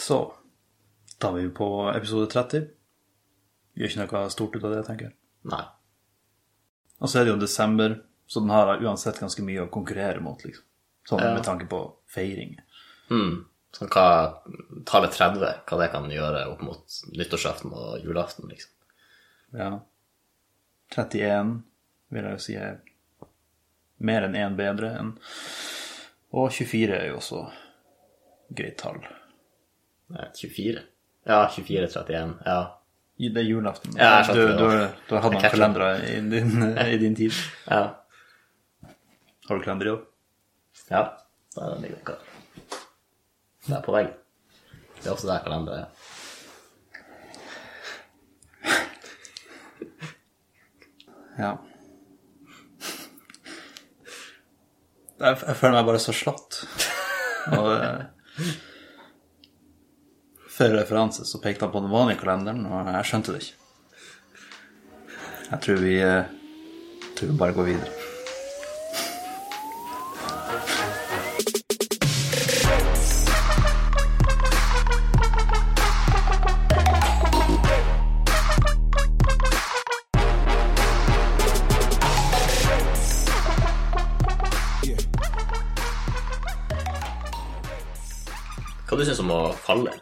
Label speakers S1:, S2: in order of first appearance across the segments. S1: Så da er vi på episode 30. Gjør ikke noe stort ut av det, tenker jeg.
S2: Nei.
S1: Og så er det jo desember, så den har uansett ganske mye å konkurrere mot, liksom. Sånn
S2: Ja.
S1: med tanke på feiringer.
S2: Mm. Så hva tallet 30, hva det kan gjøre opp mot nyttårsaften og julaften, liksom.
S1: Ja. 31 vil jeg jo si er mer enn én bedre enn Og 24 er jo også greit tall.
S2: Nei, 24. Ja, 24, 31. Ja.
S1: Det er julaften.
S2: Ja, jeg
S1: du,
S2: skjønte det.
S1: du, har- du har hatt
S2: Jeg
S1: noen
S2: catcher.
S1: kalendere i din, i din tid.
S2: Ja.
S1: Har du kalender i år?
S2: ja. Der ligger det klar. Det er på veggen. Det er også der kalenderet er.
S1: Ja. Jeg, jeg føler meg bare så slått. Og eh, Før referanse så pekte han på den vanlige kalenderen, og jeg skjønte det ikke. Jeg tror vi, eh, tror vi bare går videre.
S2: Hva du syns om å falle?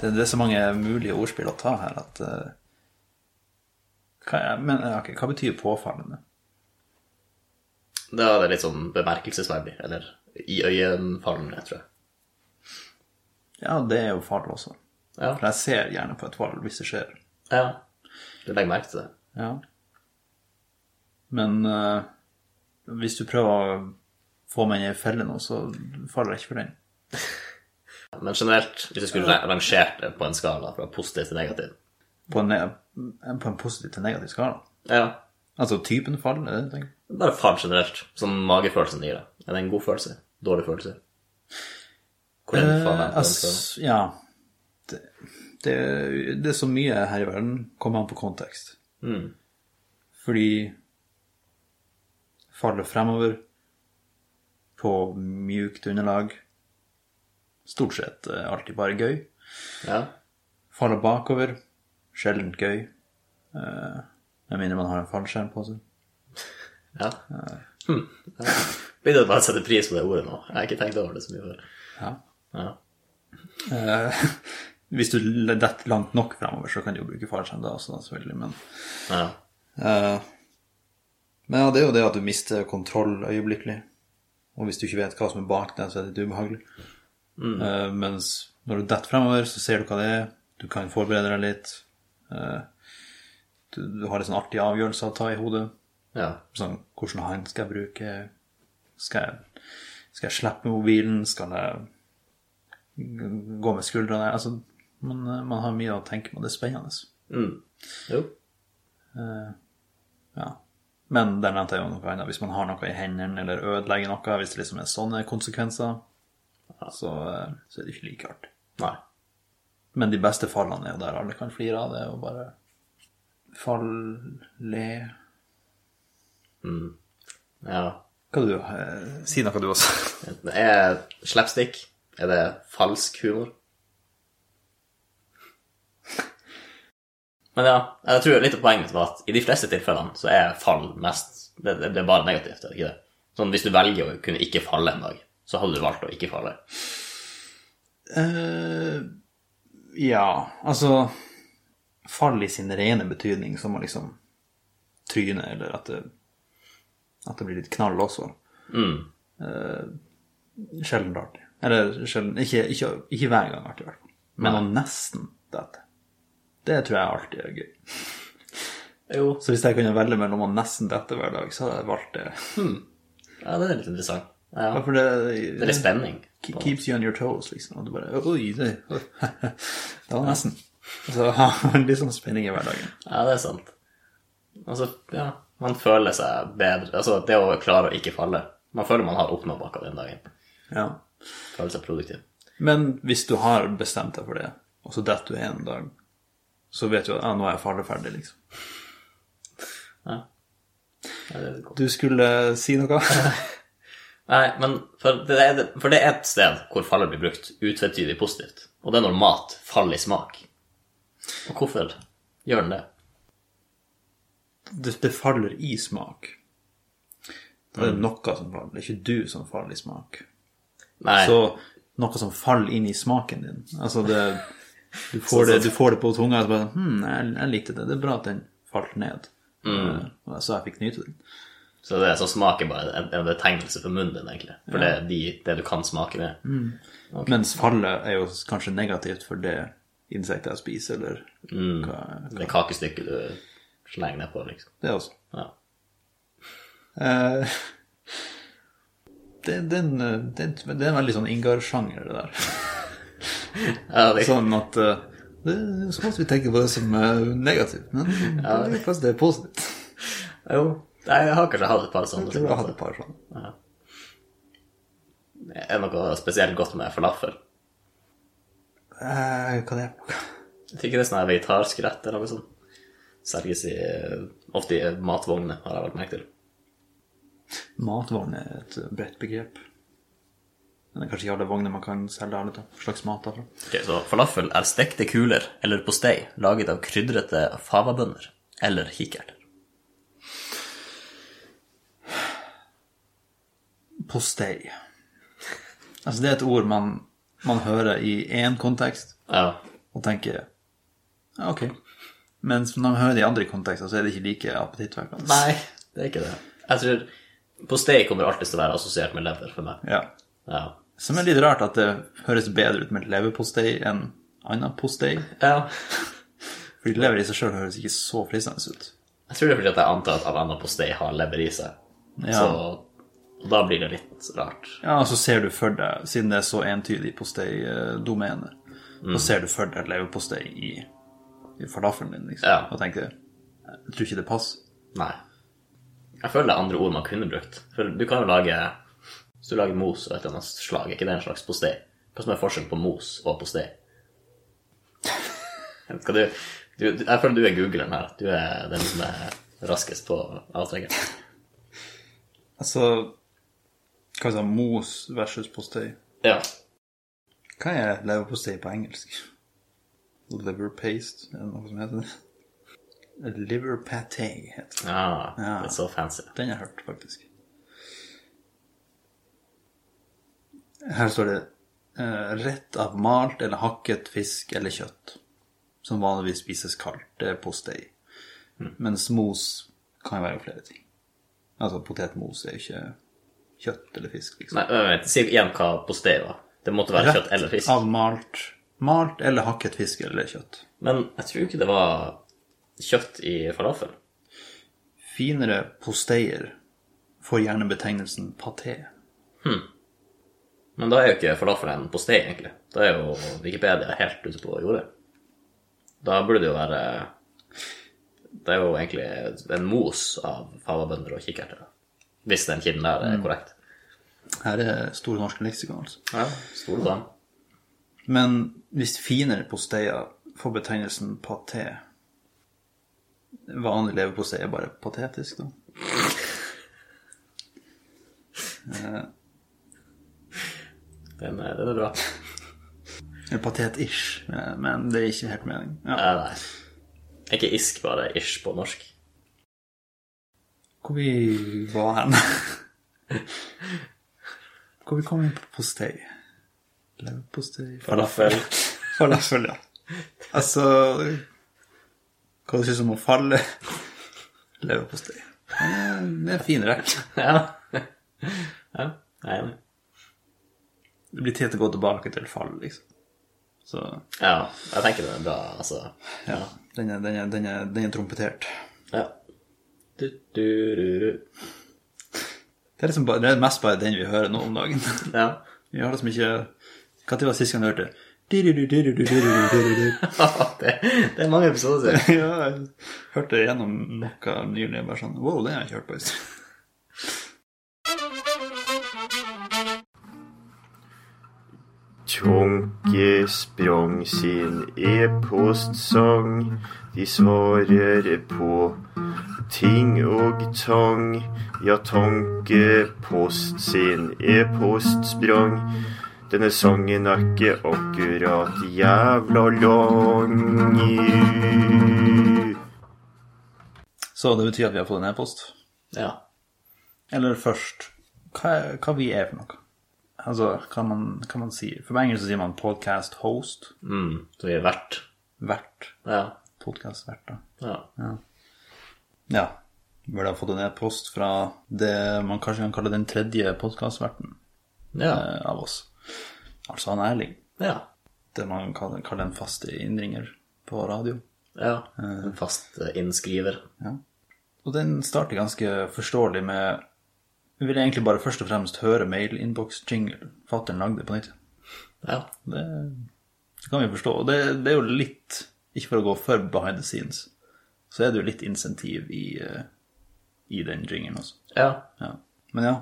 S1: Det, det er så mange mulige ordspill å ta her at eh, hva, er- men, eh, ok, hva betyr påfallende?
S2: Da er det litt sånn bemerkelsesverdig, eller iøynefallende, tror jeg.
S1: Ja, det er jo fall også.
S2: Ja.
S1: For jeg ser gjerne på et fall hvis det skjer.
S2: ja. Du legger merke til det.
S1: Ja. Men eh, hvis du prøver å få meg inn i felle nå, så faller jeg ikke for den.
S2: Men generelt, hvis du skulle ra- rangert det på en skala fra positiv til negativ
S1: På en, ne- på en positiv til negativ skala.
S2: Ja.
S1: Altså typen fall, er det det du tenker?
S2: Bare fall generelt. Sånn magefølelsen det gir deg. Er det en god følelse? Dårlig følelse? Hvor er den altså. faen
S1: Eh, ass- ja. Det, det, det er så mye her i verden, kommer an på kontekst.
S2: Mm.
S1: Fordi faller fremover på mjukt underlag stort sett eh, alltid bare gøy.
S2: Ja.
S1: Faller bakover. Sjeldent gøy. Eh, Med mindre man har en fallskjerm på seg.
S2: ja. Hm. Ja. Begynner du bare å sette pris på det ordet nå? Jeg har ikke tenkt over det så mye før.
S1: Ja.
S2: Ja.
S1: Eh, Hvis du detter langt nok fremover, så kan du jo bruke fallskjerm da også, da, selvfølgelig. Men,
S2: ja.
S1: eh, men ja, det er jo det at du mister kontroll øyeblikkelig. Og hvis du ikke vet hva som er bak deg, så er det litt ubehagelig. Eh, mens når du detter fremover, så ser du hva det er. Du kan forberede deg litt. Eh, du, du har en sånn artig avgjørelse å ta i hodet.
S2: ja.
S1: sånn, hvordan han skal jeg bruke skal jeg, skal jeg slippe mobilen? Skal jeg g- gå med skuldrene? Altså, man, man har mye å tenke på. Det er spennende.
S2: Mm. Jo.
S1: Ja. Men der nevnte jeg jo noe annet. Hvis man har noe i hendene eller ødelegger noe, hvis det liksom er sånne konsekvenser, så, eh, så er det ikke like artig.
S2: Nei.
S1: Men de beste fallene er jo der alle kan flire av. Det er jo bare fall, le
S2: Mm. Ja.
S1: Hva du, eh, Si noe du også.
S2: Enten er slapstick Er det falsk humor? Men ja, jeg tror litt av poenget mitt var at i de fleste tilfellene så er fall mest Det, det, det er bare negativt, er det ikke det? Sånn hvis du velger å kunne ikke falle en dag, så hadde du valgt å ikke falle.
S1: Eh, ja, altså Fall i sin rene betydning, som å liksom tryne, eller at det, at det blir litt knall også.
S2: Mm.
S1: Eh, sjelden artig. Eller sjelden ikke, ikke, ikke hver gang artig, i hvert fall. Men å nesten dette. Det tror jeg alltid er gøy.
S2: Jo.
S1: Så hvis jeg kunne velge mellom å nesten dette hver dag, så hadde jeg valgt det.
S2: Ja, det er litt interessant. Ja,
S1: Ja,
S2: ja.
S1: For det,
S2: Det er litt spenning.
S1: Ke- Keeps you on your toes, liksom. Og du bare Oi, det, det var nesten. Så har man litt sånn spenning i hverdagen.
S2: Ja, det er sant. Altså, ja, man føler seg bedre. Altså, det å klare å ikke falle. Man føler man har oppnådd noe den dagen.
S1: Ja.
S2: Føler seg produktiv.
S1: Men hvis du har bestemt deg for det, og så detter du en dag, så vet du at ja, nå er jeg farlig ferdig, liksom.
S2: Ja, det er godt.
S1: Du skulle si noe?
S2: Nei, men for det, er, for det er et sted hvor fallet blir brukt utvetydig positivt. Og det er når mat faller i smak. Og hvorfor gjør den det?
S1: Det, det faller i smak. Da er det noe som faller. Det er ikke du som faller i smak.
S2: Nei,
S1: Så noe som faller inn i smaken din. Altså det Du får, det, du får det på tunga, og så bare Hm, jeg, jeg likte det. Det er bra at den falt ned.
S2: Mm.
S1: Eh, Så jeg fikk nyte den.
S2: så det er så smaker bare en, en betegnelse for munnen din, egentlig. For det er de, det du kan smake med.
S1: Mm. Mens fallet er jo kanskje negativt for det insektet jeg spiser, eller hva
S2: Det kakestykket du slenger nedpå, liksom.
S1: Det også.
S2: Ja.
S1: Eh, det, det, er en, eh, det, er en- det er en veldig sånn Ingar-sjanger, det der.
S2: Ja, det,
S1: Sånn at eh, det er så godt vi tenker på det som eh, negativt, men det er faktisk det er positivt.
S2: jo, jeg har kanskje hatt et par sånne.
S1: Jeg tror jeg hadde et par sånne.
S2: Er det noe spesielt godt med falafel?
S1: Eh, hva det er
S2: Jeg tenker det er sånn her vegetarsk rett eller noe sånt. Selges i, ofte i matvogner, har jeg lagt merke til.
S1: Matvogn er et bredt begrep. Men det er kanskje ikke alle vogner man kan selge alle til slags mat derfra.
S2: Ok, så falafel er stekte kuler eller postei laget av krydrete favabønner eller kikkerter.
S1: Postei. Altså, det er et ord man, man hører i én kontekst
S2: Ja.
S1: og tenker ja, ok. Mens når man hører det i andre kontekster, så er det ikke like appetittvekkende.
S2: Nei, det er ikke det. Jeg tror postei kommer alltid til å være assosiert med lever for meg.
S1: Ja.
S2: Ja.
S1: Som er litt rart at det høres bedre ut med leverpostei enn annen postei.
S2: ja.
S1: Fordi lever i seg sjøl høres ikke så fristende ut.
S2: Jeg tror det er fordi at jeg antar at all annen postei har lever i seg.
S1: Ja.
S2: Så da blir det litt rart.
S1: Ja, så ser du for deg, siden det er så entydig postei-domene, så ser du for deg leverpostei i, i falafelen din, liksom,
S2: Ja.
S1: og tenker jeg tror ikke det passer.
S2: Nei. Jeg føler det er andre ord man kunne brukt. For du kan jo lage Hvis du lager mos av et eller annet slag, er ikke det en slags postei? Hva som er forskjellen på mos og postei? Skal du, du, du Jeg føler du er googleren her. Du er den som er raskest på avtrekket.
S1: Altså Hva sa mos versus postei?
S2: Ja.
S1: Hva er leverpostei på engelsk? Liver paste, er det noe som heter det? Liver pate heter det.
S2: Ah,
S1: Ja.
S2: Det er så fancy.
S1: Den har jeg hørt, faktisk. Her står det eh, rett av malt eller hakket fisk eller kjøtt, som vanligvis spises kaldt. eh, Det er postei.
S2: Mm.
S1: Mens mos kan jo være flere ting. Altså potetmos er jo ikke kjøtt eller fisk, liksom.
S2: Nei, vent, vent, si igjen hva postei var. Det måtte være kjøtt eller fisk.
S1: Av malt, malt eller hakket fisk eller kjøtt.
S2: Men jeg tror ikke det var kjøtt i falafel.
S1: Finere posteier får gjerne betegnelsen paté.
S2: Men da er jo ikke falafel en postei, egentlig. Da er jo Wikipedia helt ute på jordet. Da burde det jo være Det er jo egentlig en mos av favabønder og kikkerter. Hvis den kilden der er korrekt.
S1: Her er Store norske leksikon, altså.
S2: Ja, Stol på den.
S1: Men hvis finere posteier får betegnelsen paté Vanlig leverpostei er bare patetisk, da.
S2: Den er, den er bra.
S1: Eller patet-ish, eh, men det er ikke helt mening. Ja.
S2: Nei, nei. Er Ikke isk, bare ish på norsk.
S1: Hvor vi var hen? Hvor vi kom inn på postei? Leverpostei
S2: Falafel.
S1: Falafel, ja. Altså Hva du syns om å falle? Leverpostei. Eh, Det er en fin rekke.
S2: ja. ja. Jeg er enig.
S1: Det blir tid til å gå tilbake til fall, liksom. Så
S2: Ja, jeg tenker den er bra, altså.
S1: ja, den er, den er, den er, den er trompetert.
S2: Ja. Du, du, du, du.
S1: Det er, liksom bare, det er mest bare den vi hører nå om dagen.
S2: Ja.
S1: Vi har liksom ikke Når var sist gang du hørte det?
S2: det, det er mange episoder siden.
S1: Ja, jeg hørte det gjennom noe nylig. Bare sånn Wow, det har jeg ikke hørt på. en stund.
S3: Tjonke sprang sin e-postsang. De svarer på ting og tang. Ja, tankepost sin e-post sprang. Denne sangen er ikke akkurat jævla lang.
S1: Så det betyr at vi har fått en e-post.
S2: Ja.
S1: Eller først hva, er- hva vi er for noe. Altså, hva man, hva man sier. For på engelsk så sier man podcast host.
S2: Mm, så vi er vert.
S1: Vert.
S2: Ja.
S1: Podcast-vert, da.
S2: ja.
S1: Ja. Burde ha fått en e-post fra det man kanskje kan kalle den tredje podkastverten
S2: Ja.
S1: eh, av oss. Altså han Erling.
S2: ja.
S1: Det man kan kalle en fast innringer på radio.
S2: ja. En fast eh, innskriver.
S1: Og den starter ganske forståelig med Vi vil egentlig bare først og fremst høre mail-innboks-jingle. Fatter'n lagde det på nytt.
S2: Ja.
S1: Det, det kan vi forstå. Og det, det er jo litt Ikke for å gå for behind the scenes, så er det jo litt insentiv i, eh, i den jingelen også.
S2: Ja.
S1: Ja. Men ja,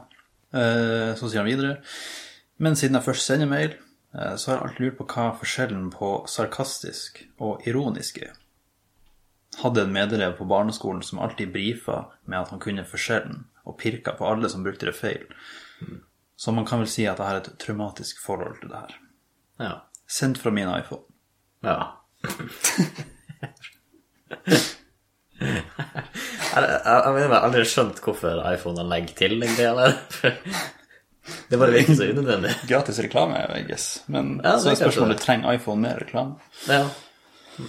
S1: eh, så sier han videre. Men siden jeg først sender mail, eh, så har jeg alltid lurt på hva forskjellen på sarkastisk og ironisk er. Hadde en medelev på barneskolen som alltid brifa med at han kunne forskjellen, og pirka på alle som brukte det feil. Mm. Så man kan vel si at jeg har et traumatisk forhold til det her.
S2: Ja.
S1: Sendt fra min iPhone.
S2: ja. Jeg, jeg, jeg mener jeg har aldri skjønt hvorfor iPhone legger til den greia der. Det bare virker så unødvendig.
S1: Gratis reklame, I guess. Men så er
S2: Ja, det er kanskje
S1: spørsmålet
S2: det.
S1: trenger iPhone mer reklame.
S2: Ja.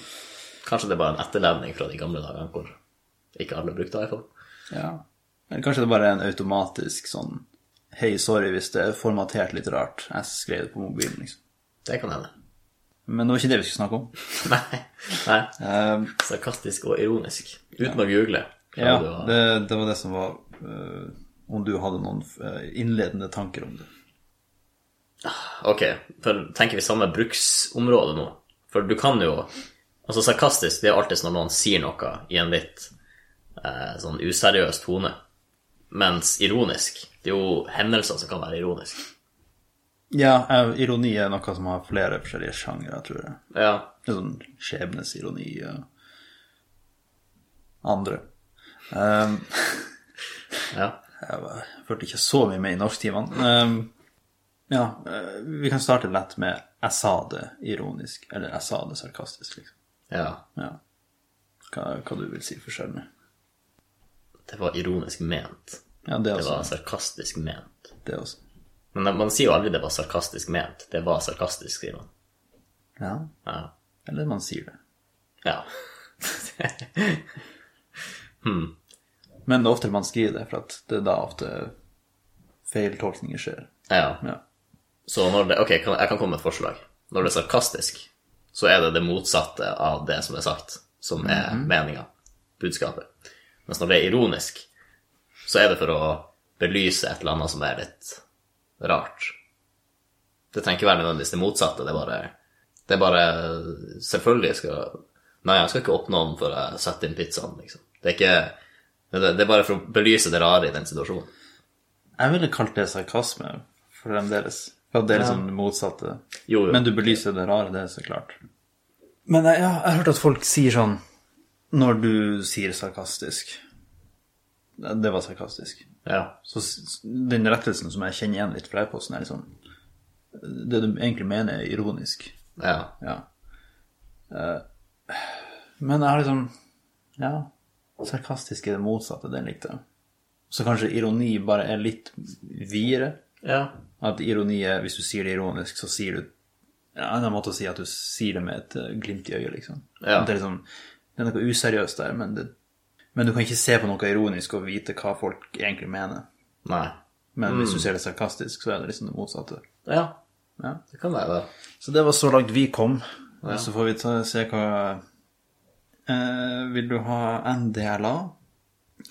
S2: Kanskje det er bare en etterlevning fra de gamle dagene hvor ikke alle brukte iPhone.
S1: Ja. Eller kanskje det bare er en automatisk sånn Hei, sorry hvis det er formatert litt rart. Jeg skrev det på mobilen, liksom.
S2: Det kan hende.
S1: Men det var ikke det vi skulle snakke om.
S2: Nei. Nei.
S1: Eh,
S2: Sarkastisk og ironisk. Uten å google.
S1: ja,
S2: klarer du å-
S1: det, det var det som var eh, Om du hadde noen eh, innledende tanker om det.
S2: Ok, for tenker vi samme bruksområde nå? For du kan jo Altså, sarkastisk det er alltid når noen sier noe i en litt eh, sånn useriøs tone. Mens ironisk Det er jo hendelser som kan være ironisk.
S1: Ja, eh, ironi er noe som har flere forskjellige sjangere, tror jeg.
S2: Ja.
S1: Det er Sånn skjebnesironi og andre. Eh,
S2: Ja.
S1: Jeg var- jeg fulgte ikke så mye med i norsktimene. Um, ja, eh, vi kan starte lett med 'jeg sa det ironisk', eller 'jeg sa det sarkastisk'. liksom.
S2: ja.
S1: Ja. Hva, hva du vil si forskjellen er.
S2: Det var ironisk ment.
S1: Ja, det
S2: Det var
S1: også.
S2: sarkastisk ment.
S1: Det også.
S2: Men man sier jo aldri det var sarkastisk ment. Det var sarkastisk, sier man.
S1: Ja.
S2: Ja.
S1: Eller man sier det.
S2: ja.
S1: Men det er oftere man skriver det, for at det er da ofte feiltolkninger skjer.
S2: ja.
S1: Ja.
S2: Så når det, ok, kan- jeg kan komme med et forslag. Når det er sarkastisk, så er det det motsatte av det som er sagt, som er
S1: Mhm.
S2: meninga, budskapet. Mens når det er ironisk, så er det for å belyse et eller annet som er litt rart. Det trenger ikke være nødvendigvis det motsatte, det er bare, det er bare Selvfølgelig skal Nei, jeg skal ikke åpne den før jeg setter inn pizzaen, liksom. Det er ikke Det det er bare for å belyse det rare i den situasjonen.
S1: Jeg ville kalt det sarkasme fremdeles. For at det er liksom det motsatte.
S2: Jo, jo.
S1: Men du belyser det rare, det er så klart. Men jeg, ja, jeg har hørt at folk sier sånn Når du sier sarkastisk Ja, Det var sarkastisk.
S2: Ja.
S1: Så s- den rettelsen som jeg kjenner igjen litt fra e-posten, er liksom Det du egentlig mener, er ironisk.
S2: ja.
S1: Ja. Eh, Men jeg har liksom Ja, sarkastisk er det motsatte. Den likte jeg. Så kanskje ironi bare er litt videre.
S2: Ja.
S1: At ironi er, hvis du sier det ironisk, så sier du ja, En annen måte å si at du sier det med et eh, glimt i øyet, liksom.
S2: Ja.
S1: At Det, er liksom det er noe useriøst der, men, det, men du kan ikke se på noe ironisk og vite hva folk egentlig mener.
S2: Nei.
S1: Men hvis du ser det sarkastisk, så er det liksom det motsatte.
S2: Ja.
S1: Ja.
S2: Det kan være det.
S1: Så det var så langt vi kom. Så får vi ta, se hva eh, Vil du ha NDLA?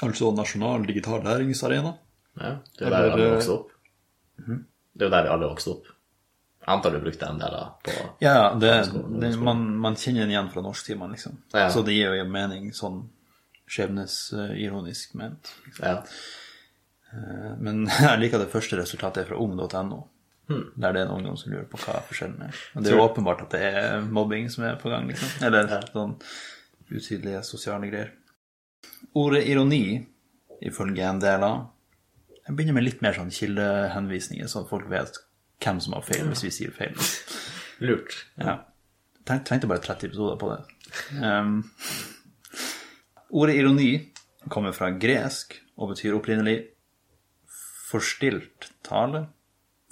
S1: Altså Nasjonal digital læringsarena?
S2: Ja, det er jo der vi alle
S1: Eller,
S2: vokste opp.
S1: Mhm.
S2: Det er jo der vi alle vokste opp. Jeg antar du brukte en del av på
S1: Ja, ja, det, det, man, man kjenner den igjen fra norsktimene, liksom.
S2: Ja.
S1: Så det gir jo mening sånn skjebnesironisk ment.
S2: Ja.
S1: Eh, Men jeg liker det første resultatet er fra ung.no,
S2: Hmm.
S1: der det er en ungdom som lurer på hva forskjellen er. Og det er jo åpenbart at det er mobbing som er på gang, liksom. Eller sånn utydelige sosiale greier. Ordet ironi, ifølge en del av Jeg begynner med litt mer sånn kildehenvisninger, sånn at folk vet hvem som har feil, hvis vi sier feil.
S2: Lurt.
S1: Ja. Tenk, trengte bare 30 episoder på det. Ehm, ordet ironi kommer fra gresk og betyr opprinnelig forstilt tale,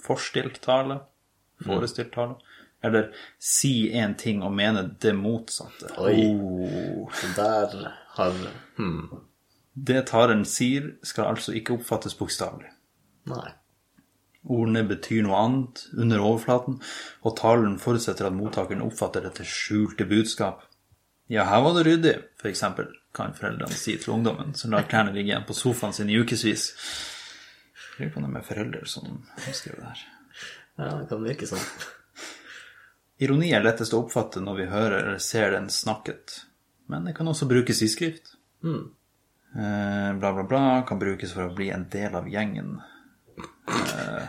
S1: forstilt tale, forestilt tale, eller si en ting og mene det motsatte.
S2: Oi.
S1: Oh.
S2: Så der har Hm.
S1: Det taren sier, skal altså ikke oppfattes bokstavelig.
S2: Nei.
S1: Ordene betyr noe annet under overflaten, og talen forutsetter at mottakeren oppfatter dette skjulte budskap. Ja, her var det ryddig, for eksempel, kan foreldrene si til ungdommen, som lar klærne ligge igjen på sofaen sin i ukevis. Lurer på om det er foreldre som skriver det her.
S2: Ja, det kan virke sånn.
S1: Ironi er lettest å oppfatte når vi hører eller ser den snakket, men det kan også brukes i skrift. Eh, bla, bla, bla kan brukes for å bli en del av gjengen. Eh,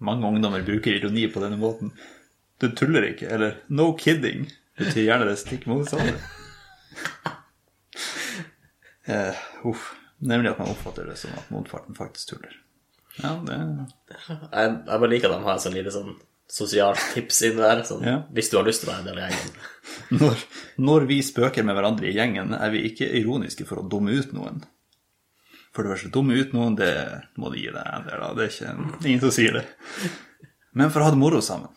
S1: mange ungdommer bruker ironi på denne måten. Du tuller ikke, eller 'no kidding' betyr gjerne det stikk motsatte. Eh, uff. Nemlig at man oppfatter det som at motparten faktisk tuller. Ja, det
S2: Jeg, jeg bare liker at de har sånn lite sånn sosialt tips inni der. Sånn,
S1: Ja.
S2: Hvis du har lyst til å være en del av gjengen.
S1: Når, når vi spøker med hverandre i gjengen, er vi ikke ironiske for å dumme ut noen. For det første, dumme ut noen, det må du gi deg en del av. Det er ikke ingen som sier det. Men for å ha det moro sammen.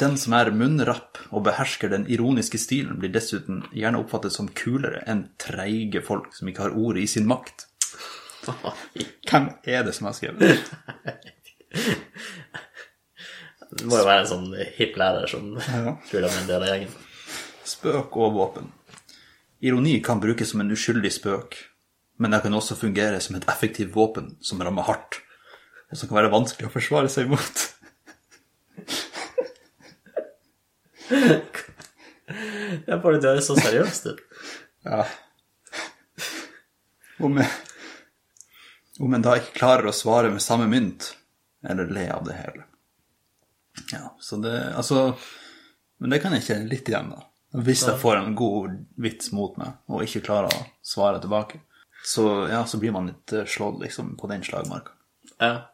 S1: Den som er munnrapp og behersker den ironiske stilen, blir dessuten gjerne oppfattet som kulere enn treige folk som ikke har ordet i sin makt. Hvem er det som har skrevet det?
S2: Det må jo være en sånn hipp lærer som
S1: Ja.
S2: tror de er en del av gjengen.
S1: Spøk og våpen. Ironi kan brukes som en uskyldig spøk, men det kan også fungere som et effektivt våpen som rammer hardt, og som kan være vanskelig å forsvare seg mot.
S2: Jeg får det til å høres så seriøst ut.
S1: Ja. Om en, om en da ikke klarer å svare med samme mynt, eller le av det hele. Ja, så det Altså Men det kan jeg kjenne litt igjen, da. Hvis jeg får en god vits mot meg, og ikke klarer å svare tilbake, så, ja, så blir man litt eh, slått, liksom, på den slagmarka.
S2: Ja.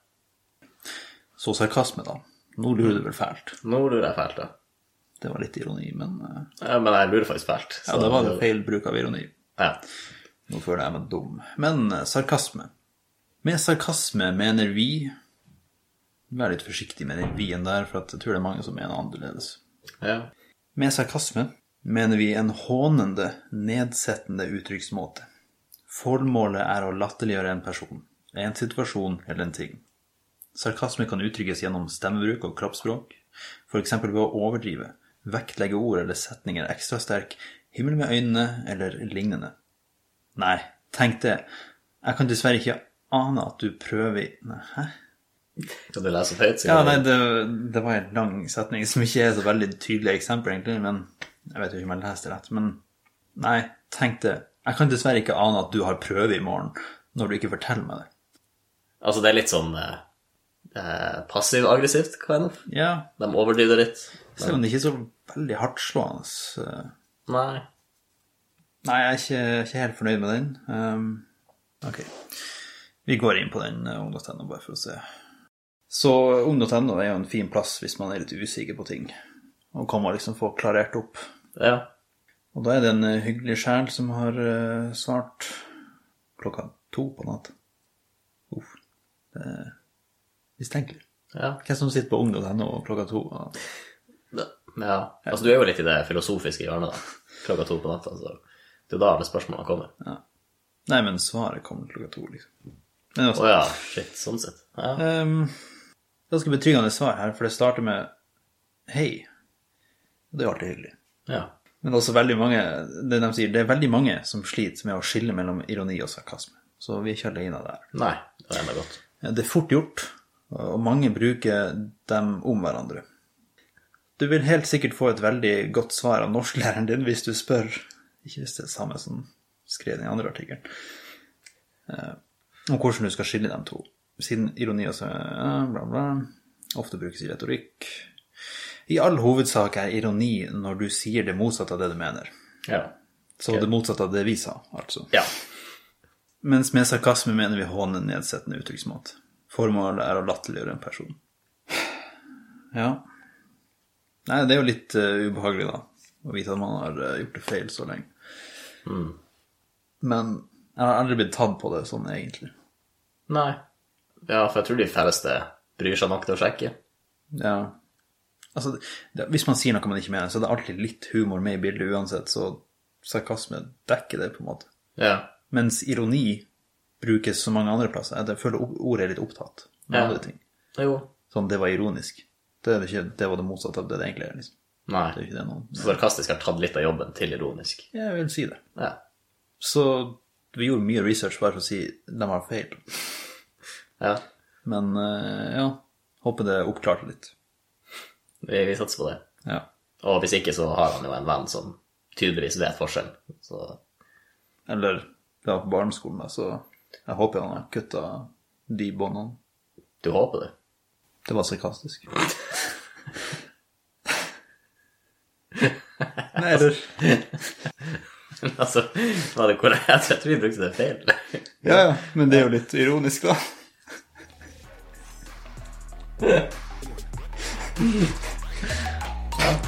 S1: Så sarkasme, da. Nå lurer du vel fælt.
S2: Nå lurer jeg fælt, ja.
S1: Det var litt ironi, men eh,
S2: ja. Men jeg lurer faktisk fælt.
S1: Ja, det var det feil bruk av ironi.
S2: Ja.
S1: Nå føler jeg meg dum. Men eh, sarkasme. Med sarkasme mener vi Vær litt forsiktig med den vi-en der, for at jeg tror det er mange som mener annerledes.
S2: ja.
S1: Med sarkasme mener vi en hånende, nedsettende uttrykksmåte. Formålet er å latterliggjøre en person, en situasjon eller en ting. Sarkasme kan uttrykkes gjennom stemmebruk og kroppsspråk, f.eks. ved å overdrive, vektlegge ord eller setninger ekstra sterk, himmel med øynene eller lignende. Nei, tenk det. Jeg kan dessverre ikke ane at du prøver Nei, hæ?
S2: Kan du lese opp høyt?
S1: Ja, nei, det, det var en lang setning som ikke er så veldig tydelig eksempel, egentlig, men jeg vet jo ikke om jeg leste rett, men nei, tenk det. Jeg kan dessverre ikke ane at du har prøve i morgen, når du ikke forteller meg det.
S2: Altså, det er litt sånn eh, eh, passiv-aggressivt, kind of.
S1: Ja,
S2: De overdriver litt.
S1: selv om det ikke er så veldig hardtslående. eh. så-
S2: Nei.
S1: Nei, jeg er ikke, ikke helt fornøyd med den. Ehm, ok. Vi går inn på den eh, ung.no bare for å se. Så ung.no er jo en fin plass hvis man er litt usikker på ting, og kan man liksom få klarert opp.
S2: Ja.
S1: Og da er det en eh, hyggelig sjel som har eh, svart klokka to på natt. Uff. Det er mistenkelig.
S2: Ja.
S1: Hvem som sitter på ung.no klokka to? og-
S2: Ja. ja. Altså, du er jo litt i det filosofiske hjørnet, da. Klokka to på natta, så det er jo da alle spørsmålene kommer. Å
S1: Nei, men svaret kommer klokka to, liksom. Men altså,
S2: ja, shit. Sånn sett. Ja.
S1: Ehm, ganske betryggende svar her, for det starter med hei. Og Det er jo alltid hyggelig.
S2: ja.
S1: Men også veldig mange, det de sier, det er veldig mange som sliter med å skille mellom ironi og sarkasme. Så vi er ikke alene der.
S2: Nei, det var enda godt.
S1: Det er fort gjort, og mange bruker dem om hverandre. Du vil helt sikkert få et veldig godt svar av norsklæreren din hvis du spør. Ikke hvis det er samme som skrev den andre artikkelen. Eh, om hvordan du skal skille dem to. Siden ironi også eh, bla, bla, ofte brukes i retorikk. I all hovedsak er ironi når du sier det motsatte av det du mener.
S2: Ja.
S1: Så det motsatte av det vi sa, altså.
S2: ja.
S1: Mens med sarkasme mener vi håne en nedsettende uttrykksmåte. Formålet er å latterliggjøre en person. Ja. Nei, det er jo litt eh, ubehagelig, da. Å vite at man har eh, gjort det feil så lenge. Men jeg har aldri blitt tatt på det sånn, egentlig.
S2: Nei. Ja, for jeg tror de færreste bryr seg nok til å sjekke.
S1: Ja. Altså, det, hvis man sier noe man ikke mener, så er det alltid litt humor med i bildet uansett, så sarkasme dekker det, på en måte.
S2: Ja.
S1: Mens ironi brukes så mange andre plasser. Jeg føler o- ordet er litt opptatt med
S2: Ja.
S1: andre ting.
S2: Jo.
S1: Sånn, det var ironisk. Det, er det, ikke, det var det motsatte av det det egentlig er. liksom. Det er
S2: Nei.
S1: ikke det noen...
S2: Sarkastisk har tatt litt av jobben til ironisk.
S1: Jeg vil si det.
S2: Ja.
S1: Så vi gjorde mye research bare for å si de har feil.
S2: ja.
S1: Men eh, ja, håper det oppklarte litt.
S2: Vi, vi satser på det.
S1: Ja.
S2: Og hvis ikke, så har han jo en venn som tydeligvis vet forskjellen. Så
S1: Eller det var på barneskolen, da, så jeg håper han har kutta de båndene.
S2: du håper det.
S1: Det var sarkastisk. Nei, eller
S2: Men altså, var det korrekt? Jeg tror vi brukte det feil.
S1: Ja, ja, men det er jo litt ironisk, da.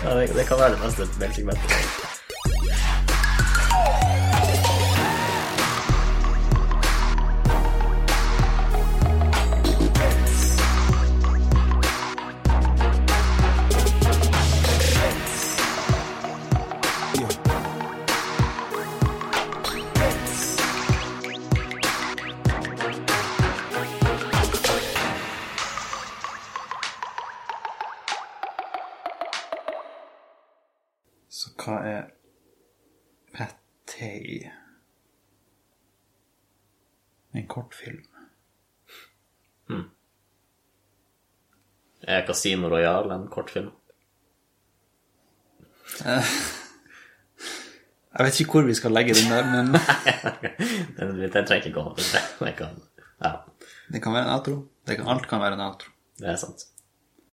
S2: Ja, det, det kan være det neste meldsegmentet.
S1: Så hva er Patay? En kortfilm.
S2: Er Casino Royal en kortfilm?
S1: Jeg vet ikke hvor vi skal legge den der, men
S2: Den, den trenger ikke å komme. Den kan, ja,
S1: det kan være en outro. Det kan, alt kan være en outro.
S2: det er sant.